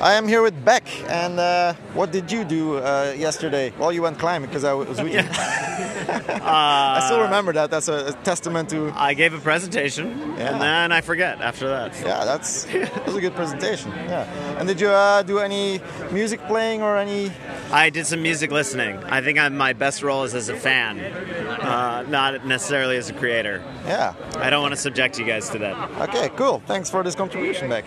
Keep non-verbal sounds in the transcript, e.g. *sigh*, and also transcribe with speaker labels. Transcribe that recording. Speaker 1: I am here with Beck, and uh, what did you do uh, yesterday? Well, you went climbing because I was with you. *laughs* I still remember that. That's a, a testament to.
Speaker 2: I gave a presentation,
Speaker 1: Yeah.
Speaker 2: and then I forget after that.
Speaker 1: Yeah, that's that was a good presentation. Yeah. And did you uh, do any music playing or any?
Speaker 2: I did some music listening. I think I'm, my best role is as a fan, uh, not necessarily as a creator.
Speaker 1: Yeah.
Speaker 2: I don't want to subject you guys to that.
Speaker 1: Okay. Cool. Thanks for this contribution, Beck.